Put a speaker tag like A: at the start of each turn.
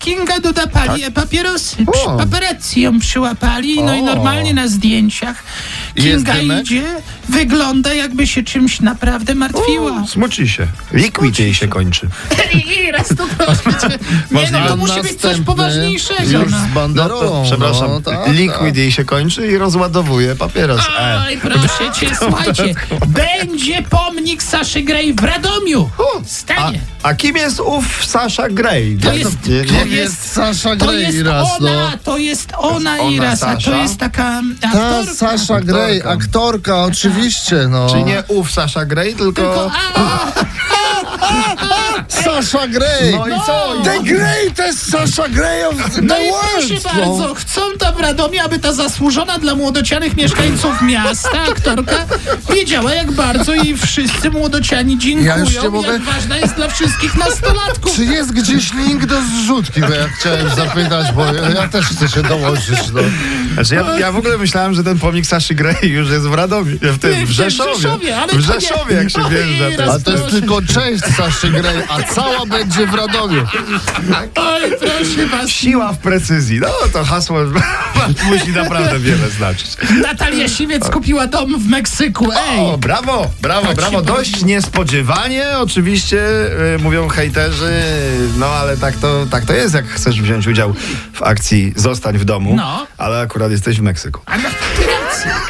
A: Kinga dodapali, e, papierosy, przy,
B: Tak. O.
A: paparazzi ją przyłapali, no i
B: O.
A: normalnie na zdjęciach
B: Jest
A: Kinga
B: dymek?
A: idzie, wygląda jakby się czymś naprawdę martwiła.
B: Smuci się. Liquid jej się kończy.
A: I raz to Nie no,
B: Możliwe.
A: to musi być coś
C: Następny
A: poważniejszego.
C: Już
A: No.
C: z banderolą.
B: to, przepraszam,
C: no, tak,
B: liquid jej się kończy i rozładowuje papieros. E.
A: Oj, proszę cię, słuchajcie, będzie pomnik Saszy Grey w Radomiu.
B: U, A,
A: Stanie.
B: a kim jest ów Sasha Grey?
A: To jest-
B: nie,
A: to
C: tak.
B: nie,
C: To jest Sasza
A: To
C: Grey
A: jest
C: raz, no.
A: ona, to jest ona
B: To jest ona,
A: Iras, a to
B: Sasza?
A: jest taka
C: Ta
A: aktorka.
C: Sasza Grey,
B: Aktorka.
C: aktorka, oczywiście, no.
B: Czyli nie ów Sasha Grey, tylko...
A: Tylko, a,
C: Sasha Grey!
B: No i co?
C: The greatest Sasha Grey of the
A: no i
C: world!
A: proszę
C: no.
A: bardzo, chcą tam w Radomiu, aby ta zasłużona dla młodocianych mieszkańców miasta aktorka wiedziała, jak bardzo jej wszyscy młodociani
C: Ja
A: dziękują,
C: już nie mogę-
A: jak ważna jest dla wszystkich nastolatków.
C: Czy jest gdzieś link do zrzutki? Bo ja chciałem zapytać, bo ja też chcę się dołączyć. No.
B: Znaczy ja, ja w ogóle myślałem, że ten pomnik Saszy Grey już jest w Radomiu, w
A: Nie,
B: tym,
A: w
B: w Rzeszowie.
A: Rzeszowie, ale
B: W
A: to nie-
B: Rzeszowie, jak się
A: Oj,
B: wjeżdża. to jest-
C: A to jest tylko część Saszy Grey, a cała będzie w Radomiu.
A: Oj, proszę was,
B: Siła w precyzji. No to hasło musi naprawdę wiele znaczyć.
A: Natalia Siwiec kupiła dom w Meksyku, ej! Tak
B: O, brawo, brawo, brawo. Dość niespodziewanie, oczywiście, y, mówią hejterzy, no ale tak to, tak to jest, jak chcesz wziąć udział w akcji Zostań w domu,
A: No.
B: ale akurat jesteś w Meksyku.
A: A na-